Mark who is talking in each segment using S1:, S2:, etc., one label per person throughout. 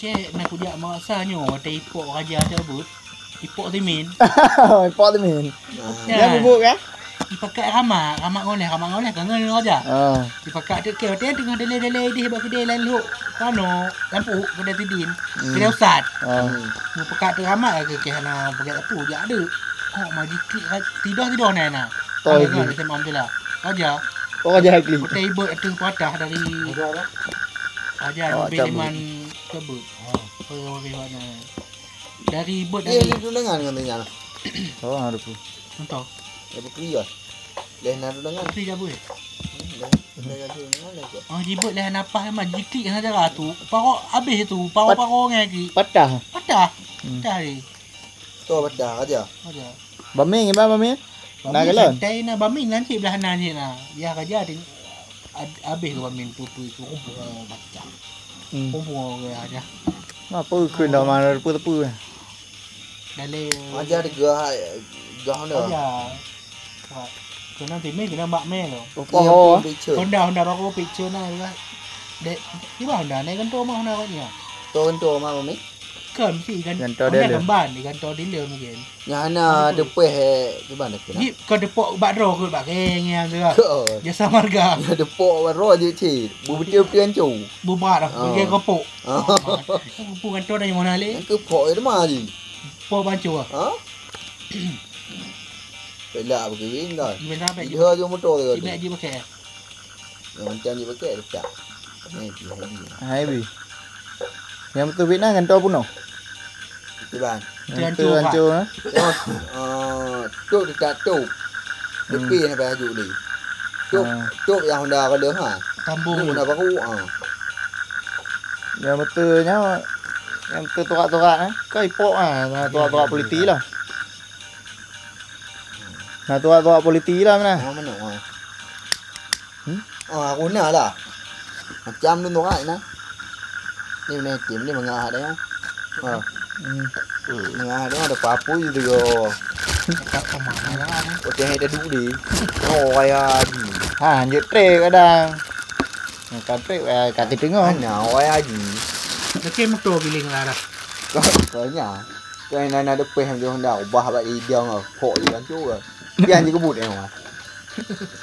S1: Cik, nak kudiak maksanya. Wata ipok raja tu abut. Ipok tu min.
S2: Import tu min.
S1: Ya.
S2: Dia bubuk kan?
S1: Ipakat ramak. Ramak ngoleh. Ramak ngoleh. Kangen ni raja.
S2: Ah.
S1: Ipakat tu ke. Wata tengah delay-delay dia. Hebat kedai lain luk. Kano. Lampu. Kedai tidin.
S2: Hmm.
S1: Kedai usat.
S2: Ah.
S1: Mu pekat tu ramai ke ke hana pekat tu dia ada. Oh maju klik tidur tidur nak nak.
S2: Oh,
S1: Oh
S2: iya.
S1: kan macam ambil lah. Aja,
S2: Kau jahat klik.
S1: hotel bird atas patah dari aja
S2: Oh,
S1: lebih
S2: cabut.
S1: liman ke bird. Ha, pergi mana. Dari bird
S3: Dia
S1: dari
S3: ada tulangan dengan tanya lah.
S2: Oh, ada pun.
S1: entah.
S3: Dia berkeliar. Dia nak tulangan.
S1: Tapi dia boleh.
S3: Dia nak tulangan lagi.
S1: Oh di bird lah napah memang jikik dengan cara tu. Parok habis tu. Parok-parok dengan lagi.
S2: Patah.
S1: Patah.
S2: Hmm.
S1: Patah hari.
S3: Tu badah aja.
S1: Aja.
S2: Baming, iba baming. Nak galon?
S1: Tai nak bamin nanti belah nan je lah. Ya kerja ada ad- habis ke bamin putui tu kumpul eh, macam.
S2: Hmm.
S1: Kumpul ke ada.
S2: Apa kun dah mana pun eh? tepu.
S1: Dale.
S3: Aja ada gah gah mana?
S1: Aja. Wah, Kena timbang kena mak mel tu.
S2: Oh,
S3: Tu
S1: Honda Honda aku picture nak juga. Dek, iba Honda ni kan tu mah Honda kau ni. ah.
S3: kentu mama mi.
S1: Kan mesti kan.
S2: Gantor
S1: Honda
S2: dealer.
S1: Gambar ni kan tu dealer mungkin.
S3: Yang
S1: Betul.
S3: ana depan eh tu mana kena.
S1: Ni kau depok bakro ke bak geng yang tu. ah.
S3: Kau.
S1: Jasa marga
S3: Dia depan waro je cik. Bubutil piancu.
S1: bubar dah
S3: Oh.
S1: pergi Ah. kopok.
S3: Ha.
S1: Kupu kan tu dah yang mana le?
S3: Ke pok dia mah je.
S1: Po bancu ah.
S3: Ha? Pelak berkering dah.
S1: Gimana sampai
S3: Dia je motor dia. tu.
S1: Cik Mek dia pakai
S3: Yang macam dia pakai dekat. Ni dia hari.
S2: hai bi. Yang betul Vietnam kan tu pun.
S3: Tu bang.
S2: Tu hancur ah.
S3: Tengok, ah, Tok dekat tok. Depan sampai hajuk ni. Tok
S2: Ah.
S3: tok yang Honda kau dah ha.
S1: Tambung
S3: Tu Honda baru ah.
S2: Yang betulnya yang betul torak-torak eh. Kau ipok ah, nak torak-torak politik lah. Nak torak-torak politik lah mana.
S3: Ha mana ah.
S2: Hmm?
S3: Ah, aku nak lah. Macam tu norak nah. Ni mana tim ni mengah dia. Ha,
S2: Hmm.
S3: mengah dia ada apa je tu. yo.
S1: Tak pemaham lah kan
S3: Okey, hai dah duduk ni. Oh, ayah ni.
S2: Ha, anjut trek kadang. Kau trek eh, kata dengar.
S3: Mana ayah ni.
S1: Lekin motor giling lah dah
S3: Kau kau nya. Kau yang nak ada peh macam dah ubah bak dia ngah. Kok dia kan tu ke. Dia hanya kebut yang mah.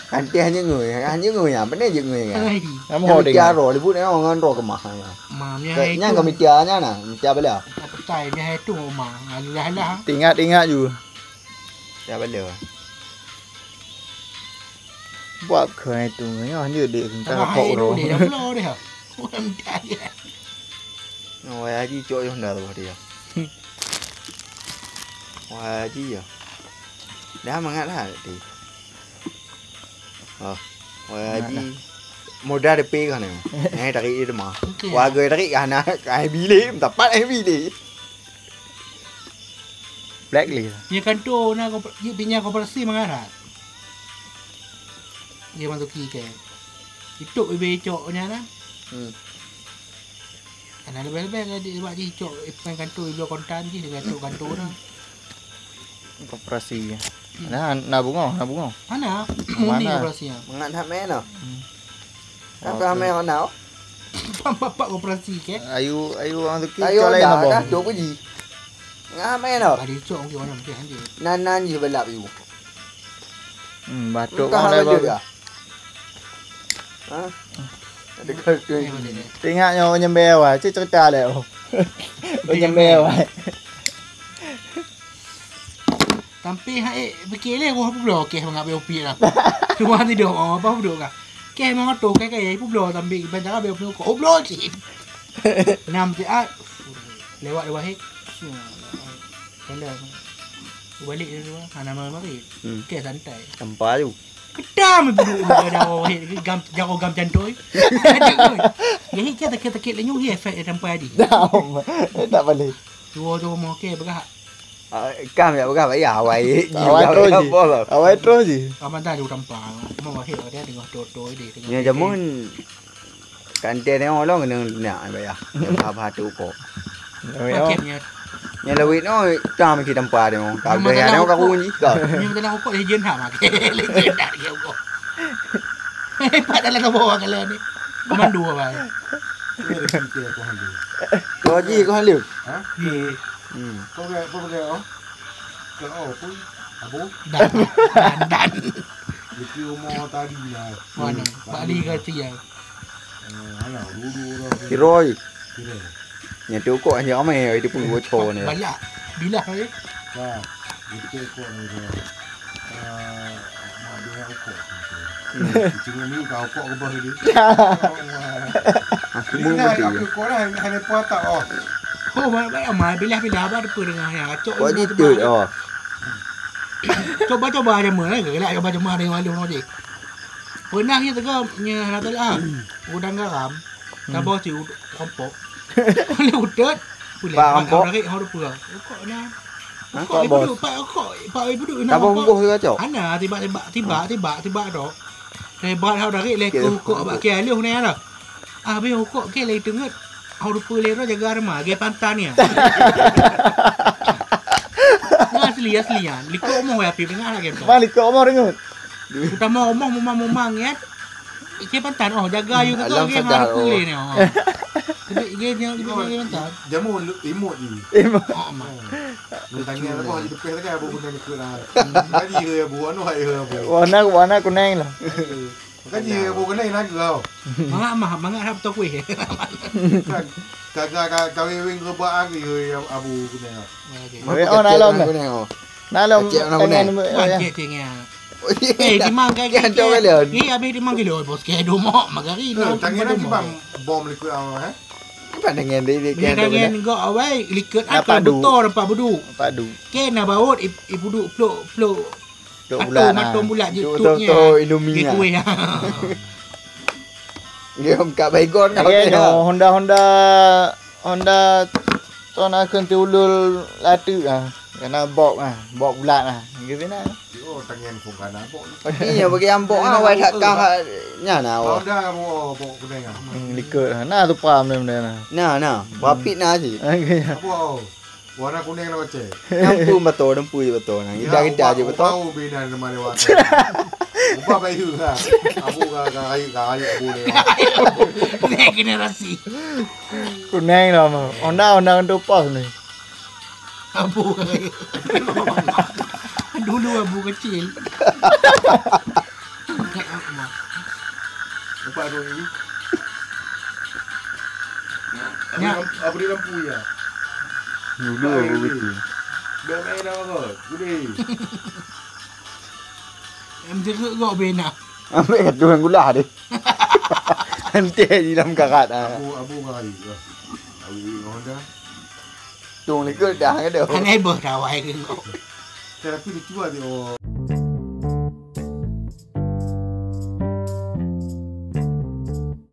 S3: Nanti hanya ngui, hanya ngui yang benar je ngui kan.
S1: Hai
S2: Kamu
S3: Yang
S2: hol
S3: mitia
S2: dengar.
S3: ro dia buat yang ngan ro ke mah.
S1: Mamnya hai
S3: Kayaknya
S1: tu
S3: kau mitia nya nah, mitia bela.
S1: Apa tai dia hai tu Omar Alah-alah
S2: Ingat-ingat juga.
S3: Mitia bela.
S2: Buat kau itu. Ya, anjut dek
S1: Tak
S2: kita
S1: hai
S2: kok
S1: tu
S2: roh.
S1: dia dah pula dia Orang tak dia
S3: Wah, haji cok yang dah tu dia. Wah, haji ya. Dah mangat lah tadi. Ha. Wah, haji modal depe kan ni. Eh, tarik dia mah.
S1: Okey
S3: Wah, gay tarik kan nak à, ai bilik, dapat ai bilik.
S2: Blacklist.
S1: Dia kan tu nak kau- Dia punya koperasi mengarah Dia masuk kan. kiri ke Itu ibe cok nya lah
S3: Hmm.
S1: Kan ada bel-bel kan dia buat je cok Ipan kantor ibu kontan je dengan cok kantor dah
S2: Koperasi. Nah, nak bunga, nak bunga.
S1: Mana?
S2: Mana?
S1: Mana koperasinya?
S3: Mangat nak main ah.
S2: Okey.
S3: Apa main kau nak?
S1: Bapak koperasi ke?
S2: Ayu ayu orang tu kita
S3: Ayo
S2: lain
S3: dah,
S2: apa?
S3: dah cok pergi. Ngah main ah.
S1: Ada cok mungkin orang mungkin anjir
S3: Nan nan je belap you.
S2: Hmm, batuk
S3: Kau
S2: kau lain
S3: hang ada
S2: apa?
S3: dah. Ha? Ada kartu
S1: Eh,
S3: yang
S1: boleh dia.
S2: Tengoknya orang nyembel wah, cik cerita leh. Orang nyembel wah.
S1: Tapi hak eh berkira aku apa pula okey mengap BOP lah. Cuma tidur oh apa pula kah? Okey memang tu kaya kaya aku pula tapi bancara BOP aku. Oh pula sih. Enam tu ah. Lewat dua hit. Kena balik dia tu ah. Nama mari.
S3: Hmm.
S1: Okey santai.
S3: tempat tu.
S1: Kedam dulu ada orang hit gam jago gam jantoi. Ada koi. Ya hit kita kita kita lenyu ye efek dia tempat tadi.
S2: Dah, tak boleh.
S1: Dua tu mau okey berah.
S3: Ah, Kam ya bukan ya awai.
S2: Awai terus je. Awal terus je.
S1: Aman dah dulu tempat. Mau hit dia tengah toto dia tengah.
S3: Ni jamun kantin ni orang kena nak bayar. Apa tu ko.
S1: Okey punya
S3: Yang lewit no tam kita tempat ni. Tak
S1: Memang tak
S3: ada yang
S1: nak
S3: nak
S1: rokok.
S3: kau ni kau.
S1: Ni betul lah rokok legend lah mak. legend dah dia rokok. Hebat dalam kau bawa kalau ni. Pemandu apa?
S4: của hành đi
S3: có gì có hai liều
S4: hả
S1: Thì
S3: ừ.
S4: có ghê có ghê không cỡ ở cuối à bố
S1: đàn đàn đàn
S4: vì kêu mo ta đi là
S1: Mà nó bà đi coi thì giờ Eh,
S4: nó là đu đu đâu
S3: thì rồi
S4: cái này
S3: nhà chú có nhỏ mày ấy thì cũng có trồ
S1: bà
S3: này
S1: lạ bí lạ ấy
S4: và vì kêu
S1: lah,
S4: con rồi
S1: Eh,
S4: à mà đi heo cổ chỉ là miêu cáo cổ bơi đi
S3: À, mua
S4: đi
S3: một
S4: này
S3: tỷ
S4: gặp được
S1: lah,
S4: có này hay này qua tạo
S1: oh.
S4: ở
S1: ô bà bà ở mà bí lạ bí lạ bà được bự ngà nhà chỗ
S3: có gì chửi ờ
S1: chỗ bà chỗ bà thì mở lại gửi lại cho bà chỗ bà đi ngoài luôn nó gì bữa nay như thế cơ nhà là tới là u đang ra làm ta bao chịu không bố lưu tết
S3: Bà không có.
S1: cái họ được bừa có nha
S3: Hả?
S1: có
S3: Có
S1: ấy bự
S3: bò.
S1: được bà có bà ấy bự được
S3: tao không có hứa chỗ
S1: hắn à thì bạn thì bạn thì bạn thì bạn thì bạn đó thì bạn hao đó cái lấy
S3: Kìa,
S1: cô cô
S3: không
S1: bạn
S3: được.
S1: kia liều nè rồi à bây giờ cô kia lấy trứng hết hao được pư lấy nó jaga nó mà cái pantan ya nggak asli asli ya liko omong ya pipi nggak lagi tuh
S2: Balik ke Omar dengar.
S1: kita mau omong mau mau mang ya Ike pantan oh jaga yuk itu
S3: Alam
S1: lagi yang
S3: sadar,
S1: harus
S3: oh.
S1: pulih nih oh tapi ike yang itu lagi pantan
S4: giờ mua tí một gì
S1: oh mah
S4: người ta nghe nó
S1: oh,
S4: còn gì được quê tất cả bố người ta cười
S1: lah.
S4: là cái gì người bố nó hay người bố
S2: Warna warna kuning lah.
S4: cái gì người bố cái này nó
S1: lah,
S4: cười
S1: oh. mah mah mah nggak harap tokwe
S4: cả cả cả cả cái bên cơ ba cái người abu cái này
S2: Ôi, ô, nai lông này.
S3: này hồ
S2: Nah, lo
S3: Kecil nak kuning.
S2: pengen oh, ya.
S1: Wah, jadinya. Eh, di mang cái
S3: Kaya cho cái lửa
S1: Ni abi di mang cái lửa "Oh, bos kaya domo, magari
S4: ừ,
S1: no.
S4: thằng nghe nó chỉ bằng bom eh? lịch quẹo mà hết
S3: pandangan dia dia
S1: Ni
S3: kaya tu
S1: dangen go away liket
S2: Dapat
S1: akal
S2: du.
S1: betul dapat budu.
S2: Padu.
S1: Ke na baut ibu du pluk pluk.
S3: Duk
S1: Atuk
S3: bulan
S2: ah.
S3: lah.
S1: matung bulat ya. je
S3: Duk
S1: tutnya.
S3: tahu-tahu Indomie
S1: Ke
S3: lah.
S1: kuih.
S3: Dia kat baygon kat
S2: Okay,
S3: hotel lah.
S2: no Honda Honda Honda tuan akan tiulul latu ah. Kena bok ah, bok bulat ah. Gitu nah.
S4: chứ ồ, thằng nghe không cả nã bộ
S3: Ini yang bagi ambok ah wai tak kah nya na
S4: nó
S3: awak.
S4: ra bộ bộ cái này à
S2: Hmm, likut ah. Nah, tu pam nem nah.
S3: Na na, wapit na si.
S2: Okay.
S4: nó bộ bộ nó cũng nên nó chảy
S3: Nampu betul, nampu je betul. Nah,
S4: Ya
S3: kita kita je betul.
S4: bao bên này mà đều ba bay hư ha abu lah, cả cả ai cả ai abu này
S1: Ni generasi.
S2: Kuning lah. mah. Honda Honda kan tu pas ni.
S1: Abu. Dulu abu kecil.
S4: nó phải rồi đi
S1: Nha.
S4: abu ya. đi làm pui à
S3: Dulu
S4: aku begitu. bé mẹ nó rồi cứ đi
S1: Em jeruk go bena.
S3: Ambil kat tuan gula dia. Nanti di dalam karat ah.
S4: abu lah, abu cả ai rồi abu ngon đó
S3: Tung ni ke dah ada.
S1: Kan ai ber dawai ke go.
S4: terapi được chưa thì ồ